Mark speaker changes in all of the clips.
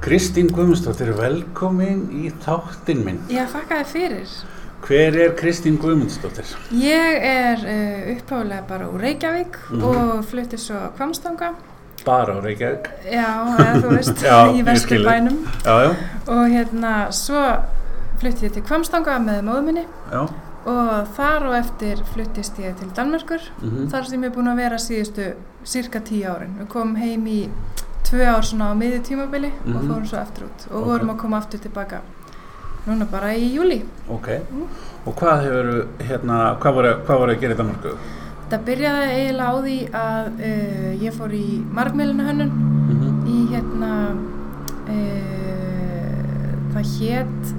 Speaker 1: Kristín Guðmundsdóttir, velkomin í þáttinn minn.
Speaker 2: Já, þakka þér fyrir.
Speaker 1: Hver er Kristín Guðmundsdóttir?
Speaker 2: Ég er uh, uppháðulega bara úr Reykjavík
Speaker 1: Mhm.
Speaker 2: og flutti svo á Kvamstanga.
Speaker 1: Bara á Reykjavík.
Speaker 2: Já, eða þú veist,
Speaker 1: Já,
Speaker 2: í
Speaker 1: ég skil
Speaker 2: vestur
Speaker 1: þig.
Speaker 2: bænum.
Speaker 1: Já, já,
Speaker 2: Og hérna, svo flutti ég til Kvamstanga með móðu minni
Speaker 1: já.
Speaker 2: og þar og eftir fluttist ég til Danmörkur.
Speaker 1: mhm.
Speaker 2: Þar sem ég er búin að vera síðustu cirka tíu árin. Við komum heim í tvö ár svona á miði tímabili og
Speaker 1: Mhm.
Speaker 2: fórum svo aftur út og
Speaker 1: Ok.
Speaker 2: vorum að koma aftur tilbaka núna bara í júli.
Speaker 1: Ok.
Speaker 2: Mm.
Speaker 1: Og hvað hefur, hérna, hvað voru, hvað voru að gera í Danmarku?
Speaker 2: Það byrjaði eiginlega á því að uh, ég fór í margmjölunahönnun
Speaker 1: Mm -hmm.
Speaker 2: í hérna, uh, það hétt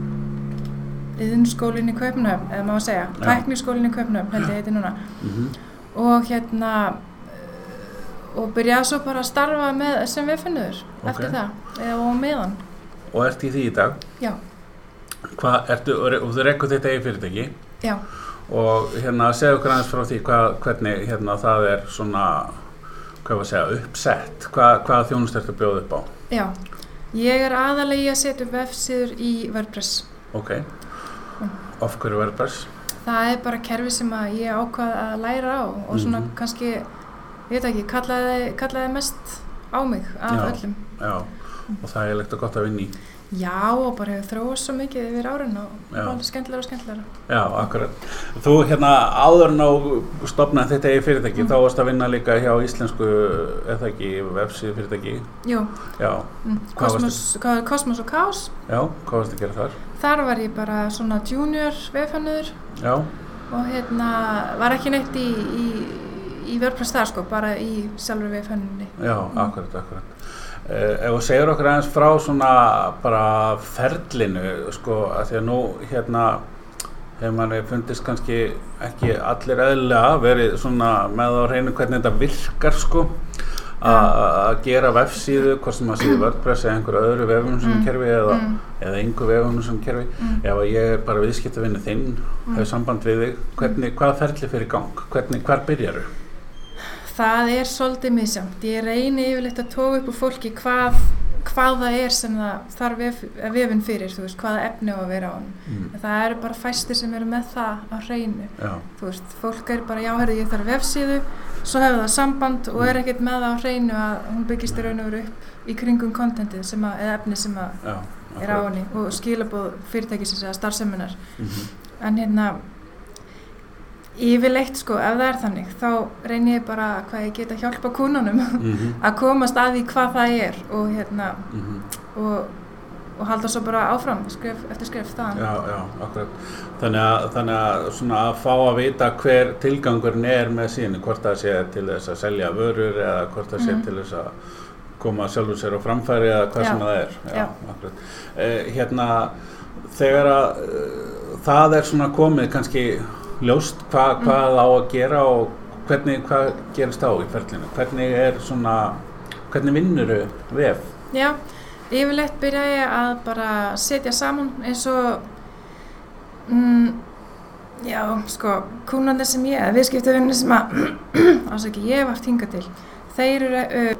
Speaker 2: yðinskólinn í Kaupnöfn, eða má að segja,
Speaker 1: Já.
Speaker 2: tækniskólinn í Kaupnöfn, held ég heiti núna.
Speaker 1: Mhm.
Speaker 2: Og hérna, eh, og byrjaði svo bara að starfa með sem viðfinnur
Speaker 1: Ok.
Speaker 2: eftir það, eða og á meðan,
Speaker 1: Og ert í því í dag?
Speaker 2: já,
Speaker 1: Hvað, ertu, og þú rekkur þetta eigin fyrirtæki?
Speaker 2: já.
Speaker 1: Og hérna, segðu okkur aðeins frá því hvað, hvernig, hérna, það er svona, hvað var að segja, uppsett. Hvað, hvaða þjónust ertu að bjóða upp á?
Speaker 2: Já, ég er aðalegi að setja upp vefsíður í WordPress.
Speaker 1: Ok. Of hverju verður bærs?
Speaker 2: Það er bara kerfi sem að ég ákvað að læra á og svona
Speaker 1: Mhm.
Speaker 2: kannski, ég veit ekki, kallaði, kallaði mest á mig af
Speaker 1: Já.
Speaker 2: öllum.
Speaker 1: Já, og það er leikt og gott að vinni í.
Speaker 2: Já, og bara hefur þróast svo mikið yfir árin og
Speaker 1: Já.
Speaker 2: bara skemmtilega og skemmtilega.
Speaker 1: Já, akkurat. Þú hérna áður en á stopnaði þetta eigi fyrirtæki,
Speaker 2: Mm.
Speaker 1: þá varst að vinna líka hjá íslensku, eða ekki, vefsíðu fyrirtæki.
Speaker 2: Jú,
Speaker 1: Já,
Speaker 2: mm,
Speaker 1: Hvað varstu?
Speaker 2: Cosmos, hvað- Cosmos og Chaos,
Speaker 1: já, hvað varst að gera þar?
Speaker 2: þar var ég bara svona junior vefhannur
Speaker 1: Já,
Speaker 2: og hérna var ekki neitt í, í, í WordPress þar sko, bara í sjálfur vefhannunni.
Speaker 1: já, akkurat, akkurat. Uh, ef þú segir okkur aðeins frá svona bara ferlinu, sko, að því að nú hérna hefur manni fundist kannski ekki allir eðlilega verið svona með á reynu hvernig þetta virkar, sko. a- a- að gera vefsíðu, hvort sem að síðu WordPress eða einhver öðru vefunusunkerfi eða,
Speaker 2: Mm,
Speaker 1: eða einhver vefunusunkerfi
Speaker 2: mm.
Speaker 1: ef að ég er bara viðskiptavinni þinn mm. hefur samband við þig, hvernig, hvað ferli fyrir gang hvernig, hvar byrjar þau?
Speaker 2: Það er svolítið misjamt. Ég reyni yfirleitt að tóa upp úr fólki hvað, hvað það er sem það þarf vef, vefin fyrir, þú veist, hvaða efni á að vera á hann.
Speaker 1: Mm.
Speaker 2: Það eru bara fæstir sem eru með það á hreinu.
Speaker 1: Já,
Speaker 2: Þú veist, fólk er bara, já, herði, ég þarf vefsíðu, svo hefur það samband og er ekkert með það á hreinu að hún byggist í raun og veru upp í kringum kontentið sem að, eða efni sem að
Speaker 1: já
Speaker 2: er á henni og skilabóð fyrirtækisins eða starfseminar.
Speaker 1: mm
Speaker 2: En hérna, yfirleitt sko, ef það er þannig, þá reynir ég bara hvað ég get að hjálpa kúnunum
Speaker 1: -hmm.
Speaker 2: að komast að því hvað það er og hérna,
Speaker 1: Mm -hmm.
Speaker 2: og, og halda svo bara áfram, skref eftir skref þaðan.
Speaker 1: Já, já, akkurat þannig að, þannig að svona að fá að vita hver tilgangurinn er með síðan hvort það sé til þess að selja vörur eða hvort það sé
Speaker 2: Mhm.
Speaker 1: til þess að koma sjálfur sér á framfæri eða hvað
Speaker 2: Já,
Speaker 1: sem það er
Speaker 2: já.
Speaker 1: akkurat eh, Hérna, þegar að eh, það er svona komið kannski ljóst hva,
Speaker 2: Mhm.
Speaker 1: hvað á að gera og hvernig, hvað gerist á í ferlinu hvernig er svona hvernig vinnuru vef
Speaker 2: Já, yfirleitt byrja ég að bara setja saman eins og, mm, já, sko, kúnandi sem ég, eða viðskiptavinni sem að, ásaki, ég hef haft hingað til, þeir eru, uh,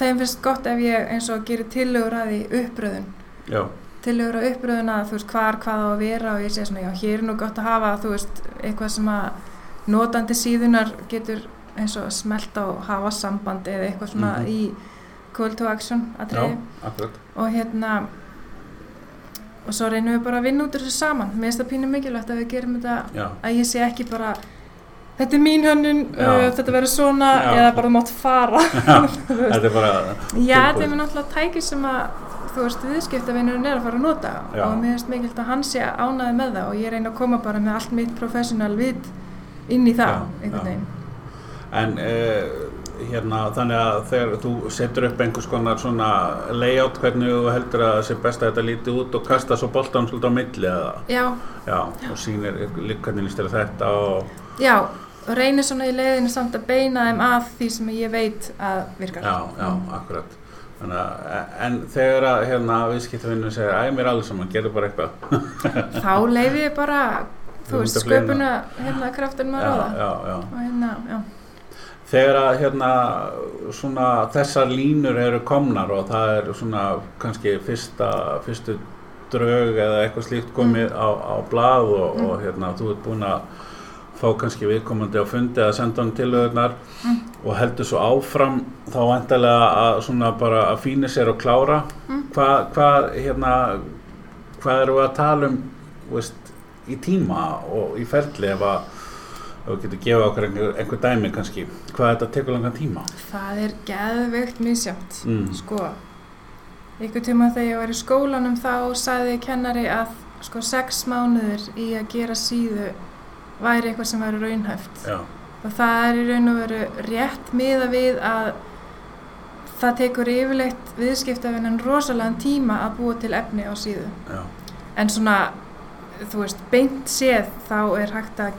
Speaker 2: þeim finnst gott ef ég eins og gerir tillögur að því uppröðun,
Speaker 1: Já,
Speaker 2: tillögur að uppröðun að þú veist hvar, hvað á að vera og ég segi svona, já, hér er nú gott að hafa, þú veist, eitthvað sem að notandi síðunar getur eins og smelt á hafa samband eða eitthvað svona
Speaker 1: Mhm.
Speaker 2: í call to action
Speaker 1: já,
Speaker 2: atriði
Speaker 1: akkurat
Speaker 2: og hérna og svo reynum við bara að vinna út úr þessu saman mér finnst það pínu mikilvægt að við gerum þetta
Speaker 1: Já,
Speaker 2: að ég sé ekki bara þetta er mín hönnun,
Speaker 1: Já.
Speaker 2: uh, þetta verður svona
Speaker 1: Já.
Speaker 2: eða bara þú mátt fara
Speaker 1: þetta er bara
Speaker 2: já, þetta
Speaker 1: Tilbúið.
Speaker 2: er mér náttúrulega tæki sem að þú veist, viðskiptavinurinn er að fara að nota
Speaker 1: Já.
Speaker 2: og mér finnst mikilvægt að hann sé ánæði með það og ég reyna að koma bara með allt mitt professional vit inn í það,
Speaker 1: Já, já.
Speaker 2: einhvern veginn
Speaker 1: En uh, hérna, þannig að þegar þú setur upp einhvers konar svona layout hvernig þú heldur að það sé best að þetta líti út og kasta svo boltan svolítið á milli eða,
Speaker 2: já,
Speaker 1: já, og sýnir lík- hvernig líst þér að þetta og,
Speaker 2: já, og reynir svona í leiðinu samt að beina þeim að því sem ég veit að virkar
Speaker 1: já, já, akkurat. Þannig að, e- en þegar að hérna viðskiptavinnur segir, æ, mér er alveg saman, gerðu bara eitthvað.
Speaker 2: þá leiði ég bara þú
Speaker 1: Þú
Speaker 2: veist,
Speaker 1: myndir fleina.
Speaker 2: sköpuna hérna kraftin maður á
Speaker 1: já,
Speaker 2: það
Speaker 1: já, já.
Speaker 2: og hérna, já,
Speaker 1: þegar að hérna svona þessar línur eru komnar og það er svona kannski fyrsta, fyrstu drög eða eitthvað slíkt komið á, á blað og,
Speaker 2: Mm.
Speaker 1: og hérna þú ert búin að fá kannski viðkomandi á fundi að senda hann til auðvitað
Speaker 2: Mm.
Speaker 1: og heldur svo áfram þá vantarlega að svona bara að fína sér og klára
Speaker 2: Mm.
Speaker 1: hvað, hvað hérna hvað eru að tala um þú veist, í tíma og í ferli ef að ef við getum gefið okkur einhver, einhver dæmi kannski hvað þetta tekur langan tíma
Speaker 2: Það er geðveikt misjönd.
Speaker 1: mm.
Speaker 2: Sko, ykkur tíma þegar ég var í skólanum þá sagði kennari að sko sex mánuður í að gera síðu væri eitthvað sem væri raunhæft.
Speaker 1: já,
Speaker 2: Og það er í raun og veru rétt miða við að það tekur yfirleitt viðskiptafinnan rosalega tíma að búa til efni á síðu.
Speaker 1: já,
Speaker 2: En svona, þú veist, beint séð þá er hægt að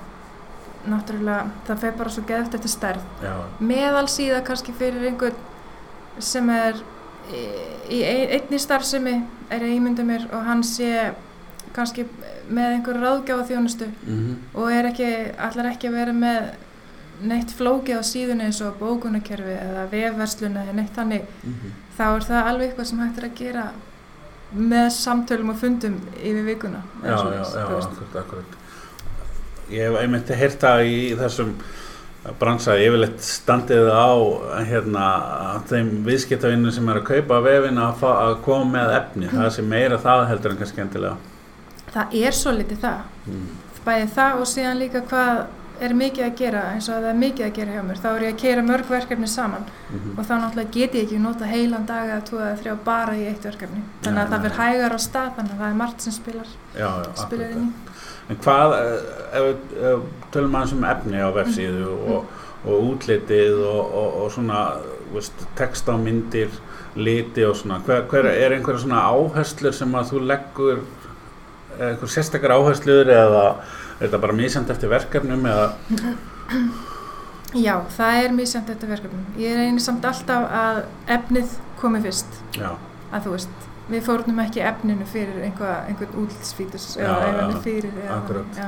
Speaker 2: náttúrulega, það fer bara svo geðveikt eftir stærð
Speaker 1: já,
Speaker 2: meðal síða kannski fyrir einhvern sem er í, í ein- einni starfsemi er ég ímynda mér og hann sé kannski með einhver ráðgjáða þjónustu
Speaker 1: mm
Speaker 2: og er ekki, allar ekki að vera með neitt flókið á síðunni eins og bókunarkerfi eða vefverslun eða neitt þannig þá er það alveg eitthvað sem hægt er að gera með samtölum og fundum yfir vikuna eða
Speaker 1: já, já,
Speaker 2: svoleiðis,
Speaker 1: já,
Speaker 2: þú veist.
Speaker 1: akkurat, akkurat ég hef einmitt heyrt það í þessum eh, bransa yfirleitt standið á hérna, þeim viðskiptavinnum sem er að kaupa vefin að, fa- að koma með efni það sé meira það heldur en kannski endilega
Speaker 2: það er svo litið það
Speaker 1: mm.
Speaker 2: bæði það og síðan líka hvað er mikið að gera eins og að það er mikið að gera hjá mér þá er ég að keira mörg verkefni saman
Speaker 1: Mm
Speaker 2: og þá náttúrulega get ég ekki nota heilan dag eða tvo eða þrjá bara í eitt verkefni þannig
Speaker 1: Nei,
Speaker 2: að það
Speaker 1: nei.
Speaker 2: fyrir hægar á stað þannig að það er margt sem spilar,
Speaker 1: já, já, akkurat,
Speaker 2: spilar inn í
Speaker 1: En hvað, eh, ef við eh, tölum aðeins um efni á vefsíðu og, og útlitið og, og, og svona, þú veist, text á myndir, liti og svona, hver, hver er einhverja svona áherslur sem að þú leggur, einhver sérstakar áherslur eða er þetta bara mísend eftir verkefnum eða,
Speaker 2: Já, það er misjönd þetta verkefni ég reynir samt alltaf að efnið komi fyrst
Speaker 1: já,
Speaker 2: að þú veist, við fórnum ekki efninu fyrir einhver, einhvern útlitsfítus eða
Speaker 1: Já,
Speaker 2: einhvern
Speaker 1: já,
Speaker 2: fyrir eða,
Speaker 1: akkurat.
Speaker 2: já.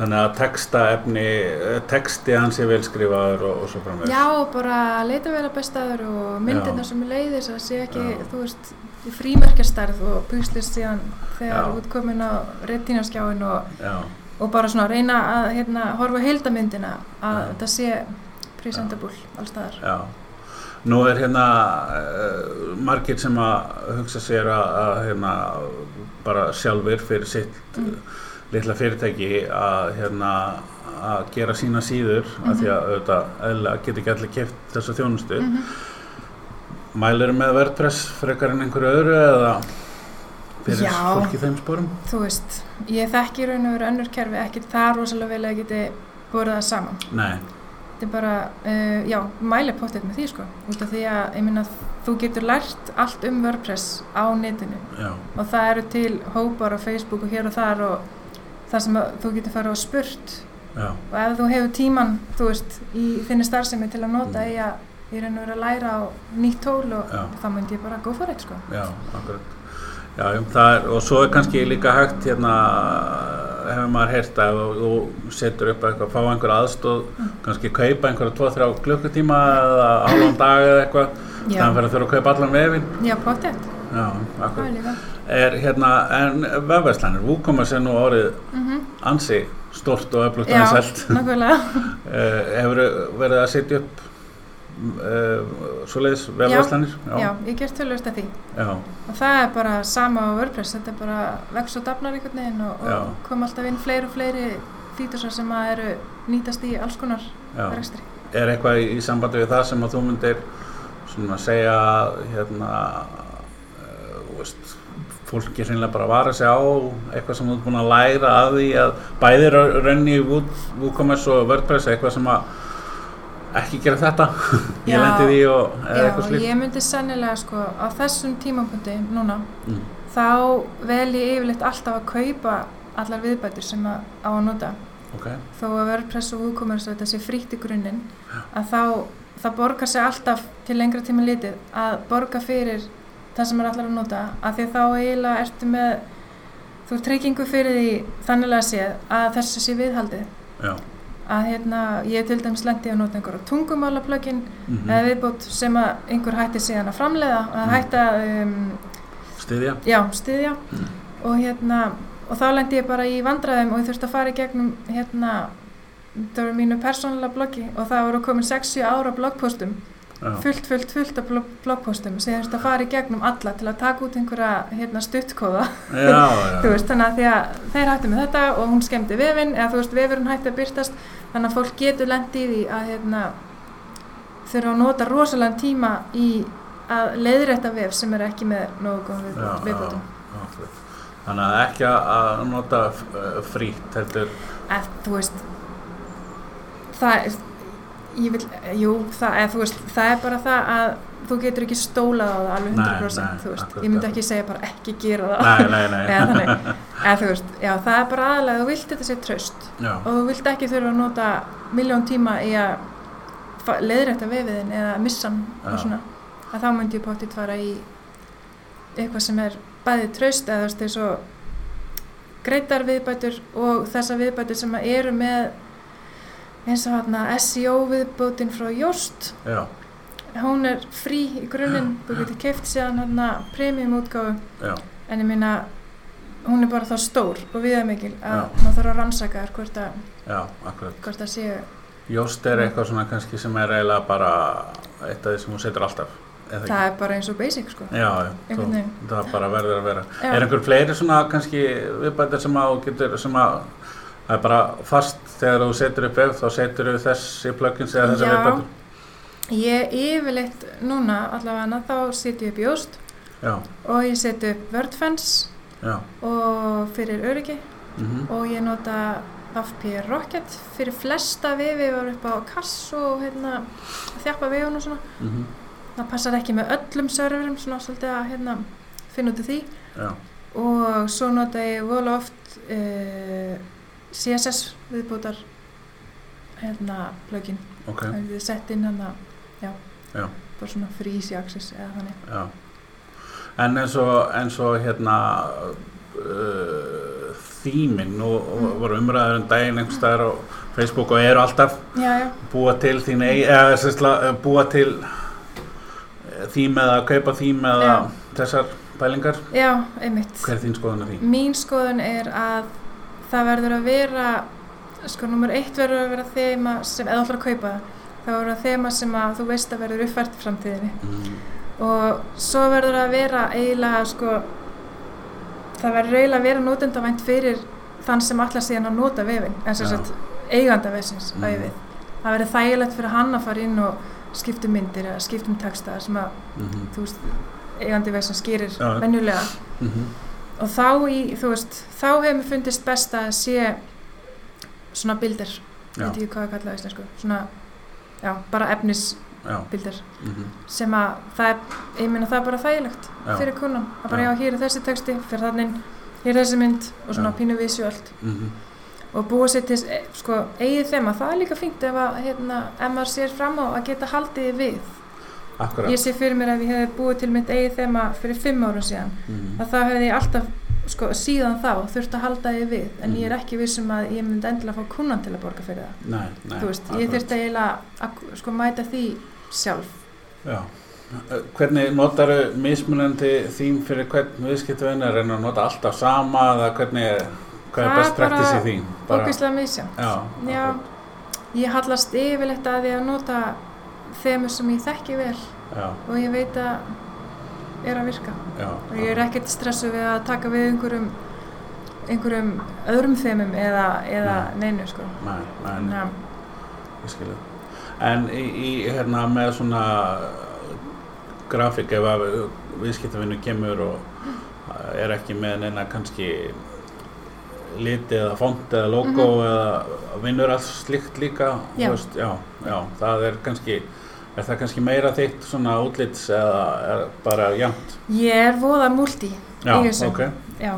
Speaker 1: þannig að texta efni, eh, texti hans er velskrifaður og, og svo framvegis.
Speaker 2: Já, og bara leita vel að bestæður og myndirna
Speaker 1: Já.
Speaker 2: sem er leiðis að sé ekki,
Speaker 1: Já.
Speaker 2: þú veist, frímerkjastarð og pugslist síðan þegar
Speaker 1: Já.
Speaker 2: þú ert komin á retínaskjáin og,
Speaker 1: Já,
Speaker 2: og bara svona reyna að hérna, horfa á heildamyndina að
Speaker 1: Já.
Speaker 2: þetta sé presentable allstaðar.
Speaker 1: já. Nú er hérna uh, margir sem að hugsa sér að, að hérna, bara sjálfur fyrir sitt
Speaker 2: Mm.
Speaker 1: litla fyrirtæki að, hérna, að gera sína síður af því að auðvitað eðlilega geta ekki allir keft þessa þjónustu. Mm.
Speaker 2: Mhm. Mm
Speaker 1: Mælir með WordPress frekar en einhverju öðru eða fyrir
Speaker 2: Já.
Speaker 1: fólk í þeim spórum?
Speaker 2: Þú veist, ég þekki í raun og veru önnur kerfi ekki það rosalega vel að ég geti borðað það saman.
Speaker 1: Nei,
Speaker 2: Þetta er bara, uh, já, mæli pottet með því sko, út af því að, ég minna, þú getur lært allt um WordPress á netinu.
Speaker 1: já,
Speaker 2: og það eru til hópar á Facebook og hér og þar og það sem að þú getur farið og spurt
Speaker 1: já,
Speaker 2: og ef þú hefur tíman, þú veist, í þinni starfsemi til að nota
Speaker 1: Mm.
Speaker 2: í að í raun og vera að læra á nýtt tól og
Speaker 1: Já.
Speaker 2: þá myndi ég bara go for it, sko.
Speaker 1: já, akkurat. Já, já, það er, og svo er kannski líka hægt hérna hefur maður heyrt að ef þú setur upp eitthvað, fá einhver aðstóð, kannski kaupa einhverja 2-3 klukkutíma eða hálfum dag eða eitthvað,
Speaker 2: Já,
Speaker 1: þannig fyrir að þurfa að kaupa allan vefin.
Speaker 2: já, pottet,
Speaker 1: Já, akkurat.
Speaker 2: það er líka.
Speaker 1: er hérna, en vefverslanir, WooCommerce er nú orðið
Speaker 2: Mm
Speaker 1: ansi stort og öflugt
Speaker 2: Já,
Speaker 1: aðeins allt.
Speaker 2: nákvæmlega.
Speaker 1: Uh, hefur verið að setja upp uh, svoleiðis vefverslanir?
Speaker 2: Já. ég ger tölvöld að því.
Speaker 1: Já,
Speaker 2: Og það er bara sama á WordPress, þetta er bara vex og dafnar einhvern veginn og, og
Speaker 1: Já.
Speaker 2: kom alltaf inn fleiri og fleiri fítusar sem að eru nýtast í alls konar
Speaker 1: já.
Speaker 2: rekstri.
Speaker 1: Er eitthvað í sambandi við það sem að þú myndir svona að segja hérna, uh, þú veist, fólki hreinlega bara að vara sig á eitthvað sem þú ert búin að læra að því að bæði ra- raunni í Woo- WooCommerce og WordPress eitthvað sem að ekki gera þetta, ég
Speaker 2: Já.
Speaker 1: lendi í því og eða eitthvað
Speaker 2: Já,
Speaker 1: slíkt.
Speaker 2: ég myndi sennilega sko á þessum tímapunkti núna
Speaker 1: Mm.
Speaker 2: þá vel ég yfirleitt alltaf að kaupa allar viðbætur sem að, á að nota
Speaker 1: Ok,
Speaker 2: þó að WordPress og WooCommerce þetta sé frítt í grunninn að þá það borgar sig alltaf til lengra tíma litið að borga fyrir það sem er allar að nota að því að þá eiginlega ertu með þú er tryggingu fyrir því þannig að séð að þessu sé viðhaldið
Speaker 1: já,
Speaker 2: að hérna, ég til dæmis lendi að nota einhverja tungumálaplökin
Speaker 1: Mhm.
Speaker 2: eða viðbót sem að einhver hætti síðan að framleiða að
Speaker 1: Mhm.
Speaker 2: hætta um,
Speaker 1: Styðja?
Speaker 2: já, styðja og hérna, og þá lendi ég bara í vandræðum og ég þurfti að fara í gegnum hérna, það voru mínu persónulega bloggi og það voru komin 60 ára bloggpostum
Speaker 1: Já.
Speaker 2: fullt, fullt, fullt af blo- bloggpostum sem ég þurfti að fara í gegnum alla til að taka út einhverja hérna, stuttkóða
Speaker 1: Já, já.
Speaker 2: þú veist, þannig að því að þeir hættu með þetta og hún skemmdi vefinn, eða þú veist, vefurinn hætti að byrtast, þannig að fólk getur lent í því að hérna, þurfa að nota rosalega tíma í að leiðrætta vef sem er ekki með nógu góðum
Speaker 1: Já,
Speaker 2: viðbót-
Speaker 1: já,
Speaker 2: viðbótum.
Speaker 1: já, akkurat. Þannig að ekki að- að nota eh, frítt heldur.
Speaker 2: að þú veist það er ég vil, jú, það er, þú veist, það er bara það að þú getur ekki stólað á það alveg
Speaker 1: Nei,
Speaker 2: 100%
Speaker 1: nei,
Speaker 2: þú veist,
Speaker 1: akkurat,
Speaker 2: ég myndi
Speaker 1: akkurat.
Speaker 2: ekki segja bara ekki gera það
Speaker 1: Nei, nei, nei.
Speaker 2: eða þannig, eða þú veist, já, það er bara aðalega þú vilt þetta sé tröst
Speaker 1: Já,
Speaker 2: og þú vilt ekki þurfa að nota miljón tíma í að fa- leiðrætta vefiðin eða missa hann og
Speaker 1: Já.
Speaker 2: svona að þá myndi ég pottit fara í eitthvað sem er bæði traust eða þú veist eins og greitar viðbætur og þessar viðbætur sem að eru með eins og hérna SEO viðbótin frá Jóst
Speaker 1: já,
Speaker 2: hún er frí í grunninn þú getur keft séðan hérna premium útgáfu
Speaker 1: já,
Speaker 2: en ég minna hún er bara þá stór og viðamikil að
Speaker 1: Já.
Speaker 2: maður þarf að rannsaka þar hvort að
Speaker 1: já, akkurat.
Speaker 2: hvort það séu
Speaker 1: Jóst er eitthvað svona kannski sem er eiginlega bara eitt af því sem hún setur alltaf. eða
Speaker 2: það
Speaker 1: ekki?
Speaker 2: er bara eins og basic sko
Speaker 1: Já, já, þú,
Speaker 2: einhvern veginn
Speaker 1: það bara verður að vera.
Speaker 2: Já.
Speaker 1: Er einhver fleiri svona kannski viðbættir sem að þú getur, sem að það er bara fast þegar þú setur upp vef, þá setur þú þessi plugins eða þessi
Speaker 2: Já.
Speaker 1: viðbættir?
Speaker 2: ég yfirleitt núna allavega þá setju upp Jóst
Speaker 1: Já,
Speaker 2: og ég setju upp Wordfence
Speaker 1: já,
Speaker 2: og fyrir öryggi
Speaker 1: mhm,
Speaker 2: og ég nota FP Rocket fyrir flesta vefi var upp á kass og hérna þjappa vefun og svona
Speaker 1: mhm,
Speaker 2: það passar ekki með öllum serverum svona svolítið að hérna finna út úr því
Speaker 1: já,
Speaker 2: og svo nota ég vola oft uh, CSS viðbútar hérna plugin
Speaker 1: ok,
Speaker 2: Það er sett inn hann að, já,
Speaker 1: Já.
Speaker 2: bara svona fyrir easy access eða þannig.
Speaker 1: já. En eins og, eins og hérna uh, þýmin, nú
Speaker 2: Mm.
Speaker 1: voru umræður um daginn einhvers staðar á Facebook og eru alltaf
Speaker 2: Já, já,
Speaker 1: búa til þín eigi, eða sérstla, búa til þým eða kaupa þým eða
Speaker 2: Já.
Speaker 1: þessar pælingar
Speaker 2: já, einmitt.
Speaker 1: hver er þín skoðun af því?
Speaker 2: Mín skoðun er að það verður að vera, sko, nummer eitt verður að vera þema sem, eða allra að kaupa það, þá verður að þema sem að þú veist að verður uppfært framtíðinni.
Speaker 1: Mm,
Speaker 2: Og svo verður að vera eiginlega, sko, það verður eiginlega að vera notendavænt fyrir þann sem allar síðan að nota vefinn, en sem
Speaker 1: Já.
Speaker 2: sagt eiganda vefsins,
Speaker 1: Mm.
Speaker 2: mm. að ég við. Það verður þægilegt fyrir hann að fara inn og skipta um myndir eða skipta um texta sem að
Speaker 1: mhm,
Speaker 2: þú veist, eigandi veginn sem skýrir
Speaker 1: Já.
Speaker 2: venjulega
Speaker 1: mhm,
Speaker 2: og þá í, þú veist, þá hefur mér fundist best að sé svona bildir,
Speaker 1: já,
Speaker 2: veit ekki hvað að kalla það íslensku, svona, já, bara efnisbildir
Speaker 1: já, mhm,
Speaker 2: sem að það er, ég meina það er bara þægilegt
Speaker 1: Já.
Speaker 2: fyrir kunnan, að bara
Speaker 1: Já.
Speaker 2: já, hér er þessi texti, fyrir þannig, hér er þessi mynd og svona
Speaker 1: Já.
Speaker 2: pínu visuált
Speaker 1: mhm,
Speaker 2: og búa sér til, eh, sko, eigið þeim að það er líka fínt ef að, hérna, ef maður sér fram á að geta haldið því við
Speaker 1: akkurat
Speaker 2: ég sé fyrir mér að ég hefði búið til mitt eigið þema fyrir fimm árum síðan
Speaker 1: mhm,
Speaker 2: að það hefði ég alltaf sko, síðan þá þurft að halda ég við en ég er
Speaker 1: Mhm.
Speaker 2: ekki vissum að ég myndi endilega fá kunnan til að borga fyrir það
Speaker 1: nei, nei,
Speaker 2: þú veist, ég þurfti eiginlega að sko, mæta því sjálf
Speaker 1: já Eh, Hvernig notaru mismunandi þým fyrir hvern viðskiptuvinn er en að nota alltaf sama eða hvernig er, hvað er
Speaker 2: Það
Speaker 1: best
Speaker 2: er bara
Speaker 1: praktis í þín?
Speaker 2: ógeðslega misjant
Speaker 1: já,
Speaker 2: Já,
Speaker 1: akkurat,
Speaker 2: ég hallast yfirleitt að því að nota þemu sem ég þekki vel
Speaker 1: já,
Speaker 2: og ég veit að er að virka
Speaker 1: já,
Speaker 2: og ég er ekkert stressuð við að taka við einhverjum einhverjum öðrum þemum eða, eða neinu sko
Speaker 1: nei, nei, nei.
Speaker 2: Þannig að-
Speaker 1: Ég skil það. En í, í hérna með svona uh, grafík ef að viðskiptavinnu kemur og uh, er ekki með neina kannski liti eða font eða logo eða vinnur allt slíkt líka þú
Speaker 2: Mhm. Já.
Speaker 1: veist, já, já, það er kannski er það kannski meira þitt svona útlits eða er bara jæmt
Speaker 2: ég er voða múlti
Speaker 1: já,
Speaker 2: Í þessu.
Speaker 1: ok,
Speaker 2: Já,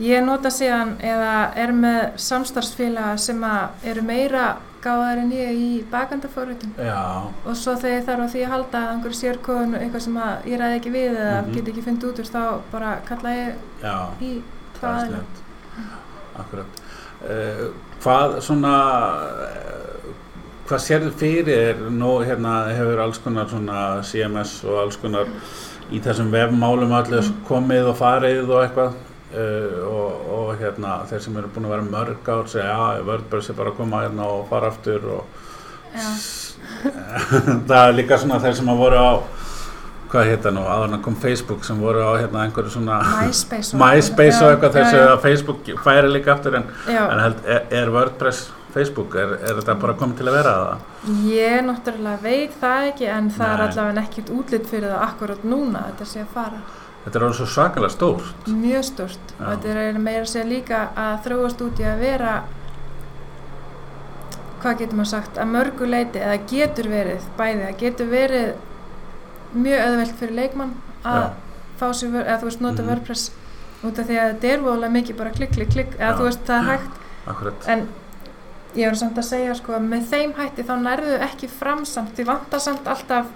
Speaker 2: ég nota síðan eða er með samstarfsfélaga sem að eru meira gáðar en ég í bakandaforritum
Speaker 1: já,
Speaker 2: og svo þegar ég þarf á því að halda að einhverju sérkóðun og eitthvað sem að ég ræði ekki við eða
Speaker 1: Mhm.
Speaker 2: get ekki fundið út úr þá bara kalla ég
Speaker 1: já
Speaker 2: í
Speaker 1: Það er
Speaker 2: hvaðina.
Speaker 1: sniðugt. Akkurat. Uh, Hvað svona, eh, hvað sérðu fyrir þér, nú hérna hefur alls konar svona CMS og alls konar í þessum vefmálum allir komið og farið og eitthvað uh, og, og hérna þeir sem eru búin að vera mörg ár segja já, WordPress er bara að koma hérna og fara aftur og
Speaker 2: Já.
Speaker 1: það er líka svona þeir sem að voru á hvað hérna nú, áður en að kom Facebook sem voru á hérna einhverju svona
Speaker 2: MySpace
Speaker 1: MySpace og eitthvað þeir
Speaker 2: Já,
Speaker 1: segja
Speaker 2: já,
Speaker 1: að Facebook færi líka aftur en,
Speaker 2: já.
Speaker 1: en held, er, er WordPress Facebook, er, er þetta bara komið til að vera það?
Speaker 2: Ég náttúrulega veit það ekki en það er
Speaker 1: Nei.
Speaker 2: allavega ekkert útlit fyrir það akkurat núna þetta sé að fara.
Speaker 1: Þetta er alveg svo sakalega stórt
Speaker 2: Mjög stort
Speaker 1: Já.
Speaker 2: og þetta er eiginlega meira að segja líka að þróast út í að vera hvað getur maður sagt, að mörgu leiti eða getur verið bæði, það getur verið mjög öðvelt fyrir leikmann að
Speaker 1: Já.
Speaker 2: fá sér, vör- eða þú veist, nota
Speaker 1: Mhm.
Speaker 2: WordPress út af því að þetta er voðalega mikið bara klikk, klikk, klikk eða
Speaker 1: Já.
Speaker 2: þú veist, það er hægt
Speaker 1: Akkurat,
Speaker 2: en ég verður samt að segja sko að með þeim hætti þá nærðu ekki fram samt því vantar samt alltaf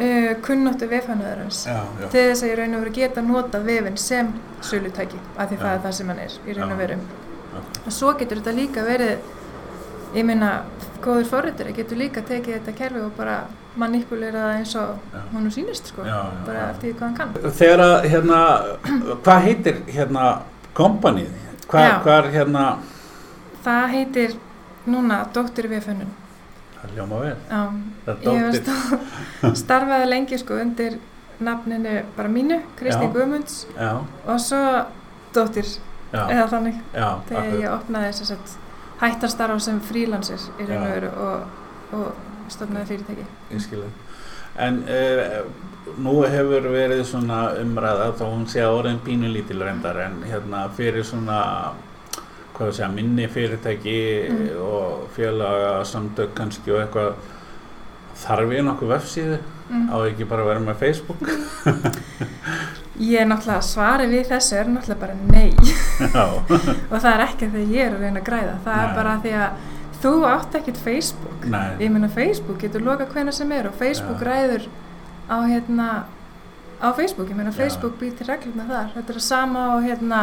Speaker 2: uh, kunnóttu vefhönnuðurins
Speaker 1: já, já,
Speaker 2: til þess að ég raun og veru geta notað vefin sem sölutæki af því það
Speaker 1: Já.
Speaker 2: er það sem hann er í raun og
Speaker 1: Já.
Speaker 2: veru og svo getur þetta líka verið ég meina góður forritur getur líka tekið þetta kerfi og bara manipulera það eins og
Speaker 1: Já.
Speaker 2: honum sýnist sko
Speaker 1: já, já,
Speaker 2: bara
Speaker 1: já.
Speaker 2: eftir því hvað hann kann
Speaker 1: Þegar að, hérna, hvað heitir, hérna, kompanið? Hvað,
Speaker 2: Já.
Speaker 1: hvað er, hérna,
Speaker 2: það heitir núna dóttir vefhönnun
Speaker 1: það ljóma vel,
Speaker 2: Já,
Speaker 1: það
Speaker 2: Ég
Speaker 1: er
Speaker 2: hef
Speaker 1: dóttir.
Speaker 2: sta- starfaði lengi sko undir nafninu bara mínu, Kristín
Speaker 1: Já.
Speaker 2: Guðmunds
Speaker 1: Já,
Speaker 2: og svo dóttir,
Speaker 1: já,
Speaker 2: eða þannig
Speaker 1: já,
Speaker 2: þegar
Speaker 1: akkurat.
Speaker 2: ég opnaði þess að hættastarfa sem frílansir í raun og
Speaker 1: Já.
Speaker 2: veru og, og stofnaði fyrirtæki.
Speaker 1: ég skilja. En uh, nú hefur verið svona umræða þá hún sé að orðin pínulítil reyndar en hérna fyrir svona hvað við segja, minni fyrirtæki
Speaker 2: Mm.
Speaker 1: og félaga samtök kannski og eitthvað þarf ég nokkuð vefsíðu á
Speaker 2: Mm.
Speaker 1: ekki bara að vera með Facebook
Speaker 2: Ég er náttúrulega svari við þessu er náttúrulega bara nei
Speaker 1: Já,
Speaker 2: og það er ekki þegar ég er að reyna að græða, það
Speaker 1: Nei.
Speaker 2: er bara því að þú átt ekkert Facebook.
Speaker 1: nei,
Speaker 2: Ég meina Facebook getur lokað hvena sem er og Facebook
Speaker 1: Já.
Speaker 2: ræður á hérna á Facebook, ég meina
Speaker 1: Já.
Speaker 2: Facebook býr til reglurna þar, þetta er að sama á hérna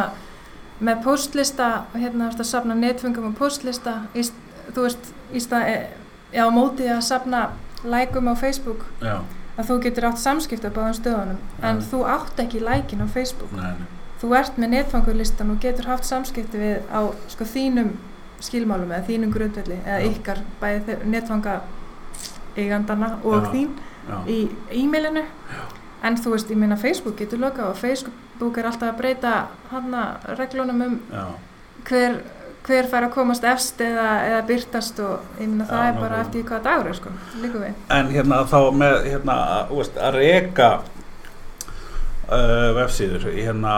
Speaker 2: með postlista og hérna þú veist að safna netfungum og postlista í, st- þú veist, í stað e, já, á mótið að safna lækum á Facebook
Speaker 1: já,
Speaker 2: að þú getur átt samskipta á báðum stöðunum en
Speaker 1: Já.
Speaker 2: þú átt ekki lækin á Facebook
Speaker 1: nei, nei.
Speaker 2: þú ert með netfangurlistan og getur haft samskipti við á sko, þínum skilmálum eða þínum grundvelli eða
Speaker 1: Já.
Speaker 2: ykkar bæði netfanga eigandana og
Speaker 1: Já.
Speaker 2: þín
Speaker 1: Já,
Speaker 2: í e-mailinu en þú veist, ég meina Facebook getur lokað og Facebook er alltaf að breyta hana reglunum um
Speaker 1: já,
Speaker 2: hver, hver fær að komast efst eða, eða byrtast og ég meina það
Speaker 1: Já,
Speaker 2: er bara
Speaker 1: nákvæmlega.
Speaker 2: eftir því hvaða dagur er, sko, líku við
Speaker 1: en hérna þá með hérna, þú veist, að reyka uh, vefsíður hérna,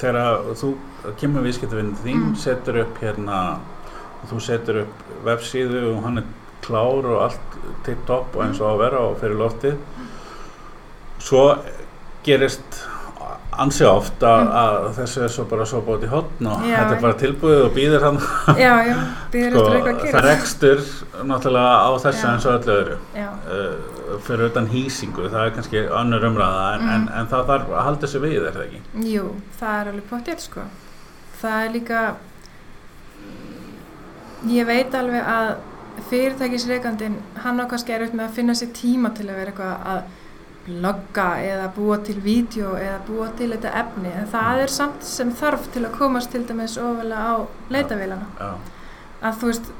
Speaker 1: þegar þú kemur viðskiptavinn þín,
Speaker 2: Mm.
Speaker 1: setur upp hérna, þú setur upp vefsíðu og hann er klár og allt tippt upp og eins og á að vera og fyrir loftið svo gerist ansi oft að,
Speaker 2: Mm.
Speaker 1: að þessu er svo bara svo bóti hotn og
Speaker 2: Já,
Speaker 1: þetta er bara tilbúið og býðir hann
Speaker 2: já, já, býður
Speaker 1: sko,
Speaker 2: eftir eitthvað að
Speaker 1: það
Speaker 2: gera
Speaker 1: rekstur náttúrulega á þessu
Speaker 2: Já.
Speaker 1: eins og öllu öðru
Speaker 2: já,
Speaker 1: uh, fyrir utan hýsingu, það er kannski önnur umræða en,
Speaker 2: Mhm.
Speaker 1: en, en það þarf að halda þessu við, er það ekki?
Speaker 2: Jú, það er alveg pottið sko. Það er líka, ég veit alveg að fyrirtækisreikandin, hann á kannski er auðvitað með að finna sér tíma til að vera eitthvað að blogga eða búa til vídeo eða búa til þetta efni en það er samt sem þarf til að komast til dæmis ofalega á leitavélana
Speaker 1: Já,
Speaker 2: að þú veist,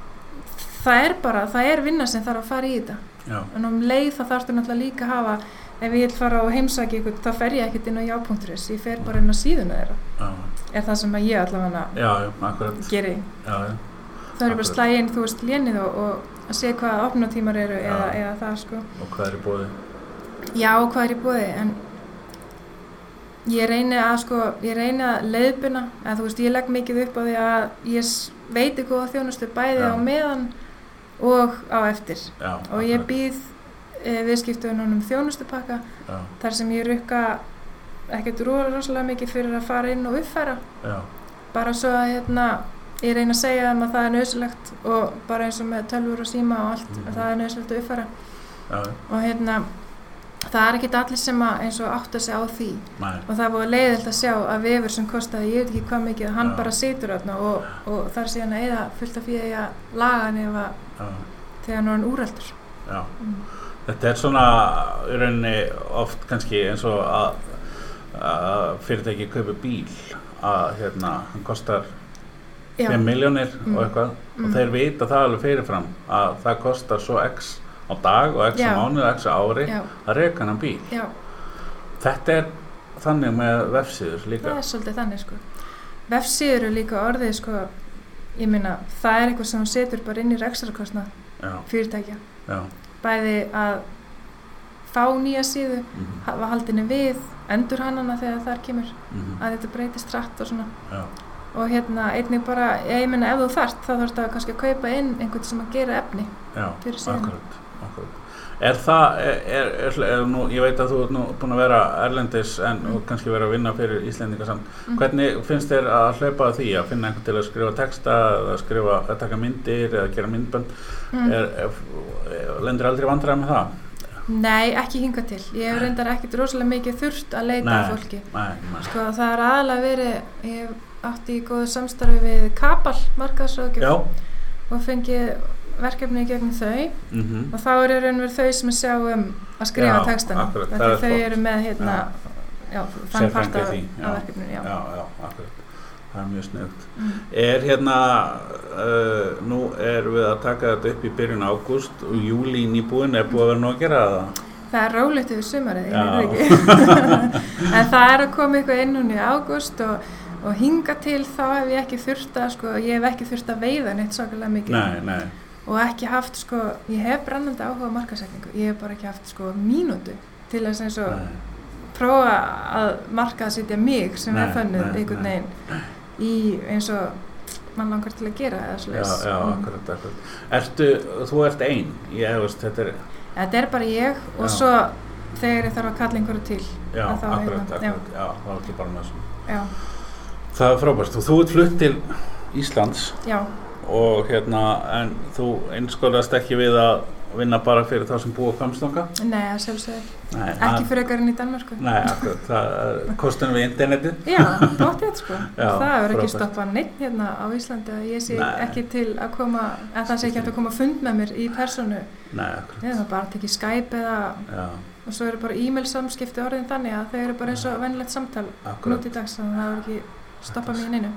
Speaker 2: það er bara, það er vinna sem þarf að fara í þetta
Speaker 1: já,
Speaker 2: en um leið þá þarfstu náttúrulega líka að hafa ef ég vil fara og heimsækja ykkur þá fer ég ekkert inn á já.is ég fer bara inn á síðuna þeirra
Speaker 1: já,
Speaker 2: er það sem að ég allavega
Speaker 1: já, já, akkurat,
Speaker 2: geri
Speaker 1: já, já,
Speaker 2: það eru bara
Speaker 1: Akkurat.
Speaker 2: slægin þú veist lénið og, og að sé hvaða opnatímar eru
Speaker 1: Já.
Speaker 2: eða, eða það sko
Speaker 1: og hvað er í bóði?
Speaker 2: já hvað er í bóði en ég reyni að sko ég reyni að leiðbuna að þú veist ég legg mikið upp á því að ég s- veiti góða þjónustu bæði
Speaker 1: Já.
Speaker 2: á meðan og á eftir
Speaker 1: Já,
Speaker 2: og ég býð e, viðskiptunum þjónustupakka
Speaker 1: já,
Speaker 2: þar sem ég rukka ekkert rúra rosalega mikið fyrir að fara inn og uppfæra
Speaker 1: já,
Speaker 2: bara svo að hérna, ég reyna að segja þeim að það er nöðsilegt og bara eins og með tölfur og síma og allt
Speaker 1: Mhm.
Speaker 2: að það er nöðsilegt að uppfæra
Speaker 1: já,
Speaker 2: og hérna það er ekkert allir sem að eins og átta sig á því
Speaker 1: Nei.
Speaker 2: og það er búið leiðilt að sjá að vefur sem kostaði, ég veit ekki hvað mikið, hann
Speaker 1: Já.
Speaker 2: bara situr þarna og, og þar síðan að eða fullt af fyrir að laga hann ef að
Speaker 1: Já.
Speaker 2: þegar hann er orðinn úreldur.
Speaker 1: Já.
Speaker 2: Mm.
Speaker 1: Þetta er svona í rauninni oft kannski eins og að, að fyrirtæki kaupi bíl að hérna, hann kostar 5 miljónir
Speaker 2: Mm.
Speaker 1: og eitthvað
Speaker 2: Mm.
Speaker 1: og þeir vita það alveg fyrirfram að það kostar svo x á dag og x
Speaker 2: Já.
Speaker 1: á mánu og x á ári
Speaker 2: já,
Speaker 1: að reka hann bíl.
Speaker 2: já,
Speaker 1: Þetta er þannig með vefsíður líka.
Speaker 2: það er svolítið þannig sko. Vefsíður eru líka orðið sko, ég meina það er eitthvað sem hún setur bara inn í rekstrarkostna
Speaker 1: Já,
Speaker 2: fyrirtækja,
Speaker 1: já.
Speaker 2: bæði að fá nýja síðu,
Speaker 1: mhm,
Speaker 2: hafa haldinni við, endur hannana þegar þar kemur,
Speaker 1: mhm,
Speaker 2: að þetta breytist rætt og svona.
Speaker 1: já,
Speaker 2: og hérna einnig bara, ég ég meina ef þú þart þá þarfst að kannski að kaupa inn einhvern sem að gera efni
Speaker 1: já.
Speaker 2: fyrir síðan
Speaker 1: Akkurat, akkurat. Er það, er, er, er, er nú, ég veit að þú ert nú búin að vera erlendis en
Speaker 2: Mm.
Speaker 1: mm. kannski vera að vinna fyrir Íslendinga samt.
Speaker 2: Mhm.
Speaker 1: Hvernig finnst þér að hlaupa að því að finna einhvern til að skrifa texta eða að skrifa, að taka myndir eða gera myndbönd?
Speaker 2: mm.
Speaker 1: Er, er, er, lendir aldrei vandræða með það?
Speaker 2: Nei, ekki hinga til ég hef reyndar ekkit rosalega mikið þurft að leita
Speaker 1: Nei.
Speaker 2: að fólki
Speaker 1: Nei, nei.
Speaker 2: sko það er aðalega verið ég hef átt í góðu samstarfi við Kapal
Speaker 1: Já,
Speaker 2: markaðsráðgjöf og fengið verkefni í gegnum þau
Speaker 1: mhm,
Speaker 2: og þá eru raunverð þau sem sjá um að skrifa
Speaker 1: Já,
Speaker 2: textana
Speaker 1: akkurat,
Speaker 2: Af
Speaker 1: það er
Speaker 2: því þau
Speaker 1: flott.
Speaker 2: eru með hérna já, þann part
Speaker 1: Sérfræðingar
Speaker 2: af,
Speaker 1: í því, já.
Speaker 2: af verkefninu já.
Speaker 1: já, já, akkurat. Það er mjög sniðugt.
Speaker 2: Mm.
Speaker 1: Er hérna, uh, nú erum við að taka þetta upp í byrjun ágúst og júli nýbúin er búið að vera nóg að gera það.
Speaker 2: Það er rólegt yfir sumarið,
Speaker 1: Já.
Speaker 2: ég veit ekki. en það er að koma eitthvað inn hún í ágúst og, og hinga til þá hef ég ekki þurft að, sko, ég hef ekki þurft að veiða neitt svakalega mikið.
Speaker 1: Nei, nei,
Speaker 2: Og ekki haft, sko, ég hef brennandi áhuga á markasetningu, ég hef bara ekki haft, sko, mínútu til að eins og
Speaker 1: nei,
Speaker 2: prófa að markaðsetja mig sem
Speaker 1: Nei,
Speaker 2: er fönnið
Speaker 1: nei,
Speaker 2: einhvern
Speaker 1: nei.
Speaker 2: veginn í eins og mann langar til að gera eða Mm.
Speaker 1: já,
Speaker 2: slúiðis.
Speaker 1: já, akkurat, akkurat. Ertu, þú ert einn, ég hefast, þetta er,
Speaker 2: Þetta er bara ég
Speaker 1: Já.
Speaker 2: og svo þegar ég þarf að kalla einhverju til.
Speaker 1: já,
Speaker 2: En þá
Speaker 1: akkurat,
Speaker 2: hérna, já.
Speaker 1: akkurat, já, það var ekki bara með þessum.
Speaker 2: Já,
Speaker 1: Það er frábært og þú ert flutt til Íslands
Speaker 2: já.
Speaker 1: og hérna, en þú einskólaðast ekki við að vinna bara fyrir þá sem búa á Kamstonga?
Speaker 2: Nei, að sjálfsögðu.
Speaker 1: Nei,
Speaker 2: Ekki
Speaker 1: það-
Speaker 2: fyrir ykkar enn í Danmarku.
Speaker 1: Nei, akkurat, það er kostunum við internetið.
Speaker 2: Já, bóttið sko.
Speaker 1: Já,
Speaker 2: það hefur ekki
Speaker 1: frábært.
Speaker 2: stoppað neitt hérna á Íslandi að ég sé
Speaker 1: Nei.
Speaker 2: ekki til að koma, að það sé ekki hægt að koma að fund með mér í personu.
Speaker 1: Nei, akkurat,
Speaker 2: Ég það bara að tekja Skype eða,
Speaker 1: já,
Speaker 2: og svo eru bara e-mail samskipti orðin þannig að þau eru bara eins og vennilegt samtal
Speaker 1: akkurat.
Speaker 2: nút í dags, þannig að það hefur ekki stoppað mér í neinu.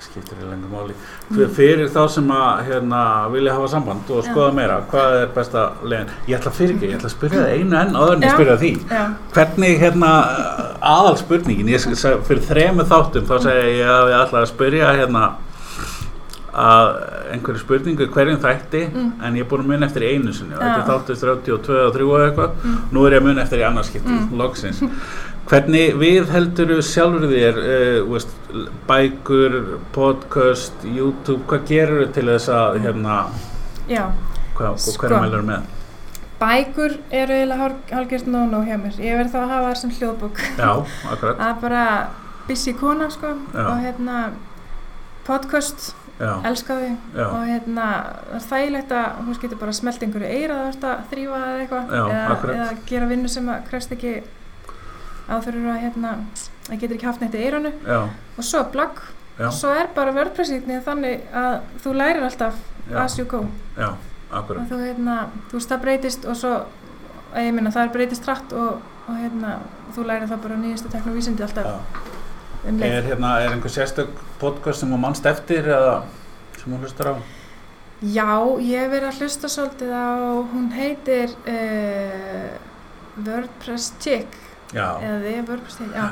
Speaker 1: skiptir í lengur máli Hver- fyrir þá sem að hérna, vilja hafa samband og skoða meira hvað er besta leiðin ég ætla fyrir ekki, ég ætla að spyrja það einu enn áður en ég
Speaker 2: Já.
Speaker 1: spyrja því
Speaker 2: Já,
Speaker 1: hvernig hérna aðal spurningin ég, sa- fyrir þremu þáttum þá segi ég að ég ætla að spyrja hérna að einhverju spurningu í hverjum þætti
Speaker 2: Mm.
Speaker 1: en ég er búin að muna eftir einu sinni og
Speaker 2: Já.
Speaker 1: þetta er þáttu 32 og 3 og eitthvað
Speaker 2: Mm.
Speaker 1: nú er ég að muna eftir í annarskipti
Speaker 2: Mm.
Speaker 1: loksins Hvernig við heldur þú sjálfur þér, uh, veist, l- bækur, podcast, YouTube, hvað gerur þú til þess að, hérna,
Speaker 2: já.
Speaker 1: hvað, sko.
Speaker 2: Sko.
Speaker 1: hvernig mælur með?
Speaker 2: Bækur eru eiginlega hálgjört nóg-nóg hjá mér. Ég verð þá að hafa það sem hljóðbók.
Speaker 1: Já, akkurat,
Speaker 2: Það er bara busy kona sko
Speaker 1: Já.
Speaker 2: og hérna podcast,
Speaker 1: já,
Speaker 2: elska því
Speaker 1: já,
Speaker 2: og hérna það er þægilegt að hún getur bara smelt einhverju eira það verður að þrýfa eða eitthvað
Speaker 1: Já,
Speaker 2: eða,
Speaker 1: akkurat.
Speaker 2: eða gera vinnu sem að krefst ekki áþurur að hérna það getur ekki haft neitt í eiranu
Speaker 1: já,
Speaker 2: og svo blogg
Speaker 1: já,
Speaker 2: og svo er bara vördpressíknið þannig að þú lærir alltaf
Speaker 1: Já.
Speaker 2: as you go
Speaker 1: já,
Speaker 2: og
Speaker 1: akkurat,
Speaker 2: þú hérna, þú veist það breytist og svo, að ég minna það er breytist rætt og, og hérna þú lærir það bara nýjastu teknovísindi alltaf
Speaker 1: já.
Speaker 2: um leið
Speaker 1: Er, hérna, er einhver sérstök podcast sem þú mannst eftir eða sem þú hlustar á?
Speaker 2: Já, ég hef verið að hlusta svolítið á, hún heitir uh, WordPress Chick,
Speaker 1: Já, Ah.
Speaker 2: eða þið er WordPress Chick, já.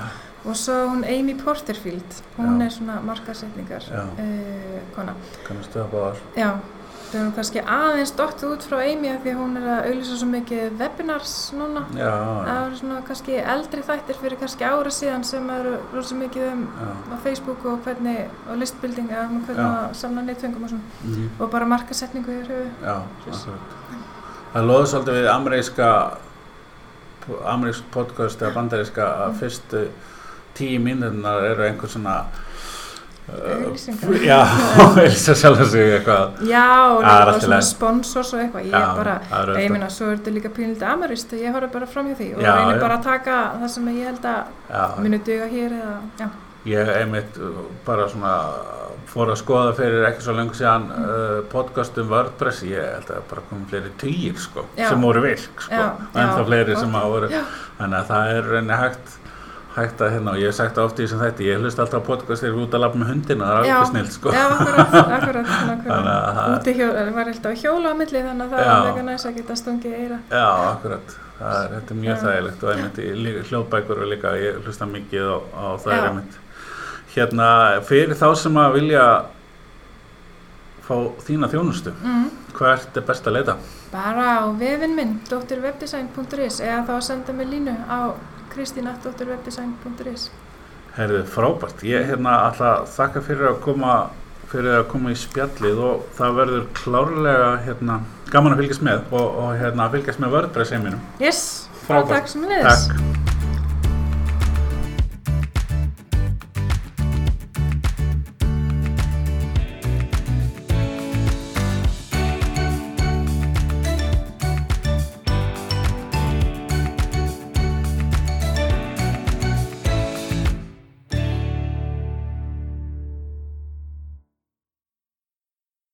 Speaker 2: Og svo hún Amy Porterfield, hún
Speaker 1: Já.
Speaker 2: er svona markasetningar
Speaker 1: Já.
Speaker 2: uh, kona.
Speaker 1: kannastu það báðar?
Speaker 2: Já, það er nú kannski aðeins dottið út frá Amy af því að hún er að auðvisa svo mikið webinars núna.
Speaker 1: Já,
Speaker 2: Það eru svona kannski eldri þættir fyrir kannski ára síðan sem eru rosa mikið um
Speaker 1: já,
Speaker 2: á Facebook og hvernig, og listbuilding, eða um hvernig
Speaker 1: Já.
Speaker 2: að samla neittfengum og svona.
Speaker 1: mhm.
Speaker 2: Og bara markasetningu í höfu.
Speaker 1: Já, akkurat. Það loður svolítið við ameríska amerísk
Speaker 2: Mhm.
Speaker 1: podcast eða bandaríska að fyrstu tíu mínúturnar eru einhver svona
Speaker 2: Auglýsingar.
Speaker 1: Uh, já, Elisa sjálf að segja eitthvað
Speaker 2: Já, og
Speaker 1: Það er
Speaker 2: líka bara
Speaker 1: allt í
Speaker 2: svona
Speaker 1: lagi.
Speaker 2: sponsors og eitthvað, ég
Speaker 1: Já,
Speaker 2: bara,
Speaker 1: það er auðvitað.
Speaker 2: ég minna, svo er þetta líka pínlítið amarist og ég horf bara fram hjá því og
Speaker 1: Já,
Speaker 2: reynir
Speaker 1: já.
Speaker 2: bara að taka það sem ég held að
Speaker 1: já,
Speaker 2: muni duga hér eða, já,
Speaker 1: ég einmitt uh, bara svona fór að skoða fyrir ekki svo lengur síðan uh, podcast um WordPress ég held að bara komum fleiri týr sko,
Speaker 2: Já.
Speaker 1: sem voru virk sko,
Speaker 2: Já,
Speaker 1: og ennþá
Speaker 2: já,
Speaker 1: fleiri
Speaker 2: gott.
Speaker 1: sem að voru
Speaker 2: Já.
Speaker 1: þannig að það er reyni hægt hægt að hérna og ég hef sagt það oft í þessum þætti ég hlust alltaf á podcast þegar ég er út að lafa með hundina það er
Speaker 2: Já.
Speaker 1: alveg snill sko
Speaker 2: já, akkurat, akkurat, svona,
Speaker 1: Þannig
Speaker 2: akkurat.
Speaker 1: að það-
Speaker 2: Úti hjól, það var alltaf hjóla á milli þannig að það
Speaker 1: Já.
Speaker 2: var mega næs að geta stungið í eira.
Speaker 1: Já, akkurat. Það er, þetta er mjög
Speaker 2: Já.
Speaker 1: þægilegt og einmitt í lí- hljóðbækur og líka ég hlusta mikið á, á það er
Speaker 2: Já.
Speaker 1: einmitt. Hérna, fyrir þá sem að vilja fá þína þjónustu,
Speaker 2: Mm.
Speaker 1: hvað ert er best að leita?
Speaker 2: Bara á vefinn minn, dóttirwebdesign.is eða þá að senda mig línu á kristina.dóttirwebdesign.is
Speaker 1: Herðu, frábært. Ég hérna ætla að þakka fyrir að koma fyrir að koma í spjallið og það verður klárlega hérna, gaman að fylgjast með og, og hérna, að fylgjast með WordPress heiminum.
Speaker 2: Yes,
Speaker 1: Frábært.
Speaker 2: takk sem leiðis.
Speaker 1: Takk.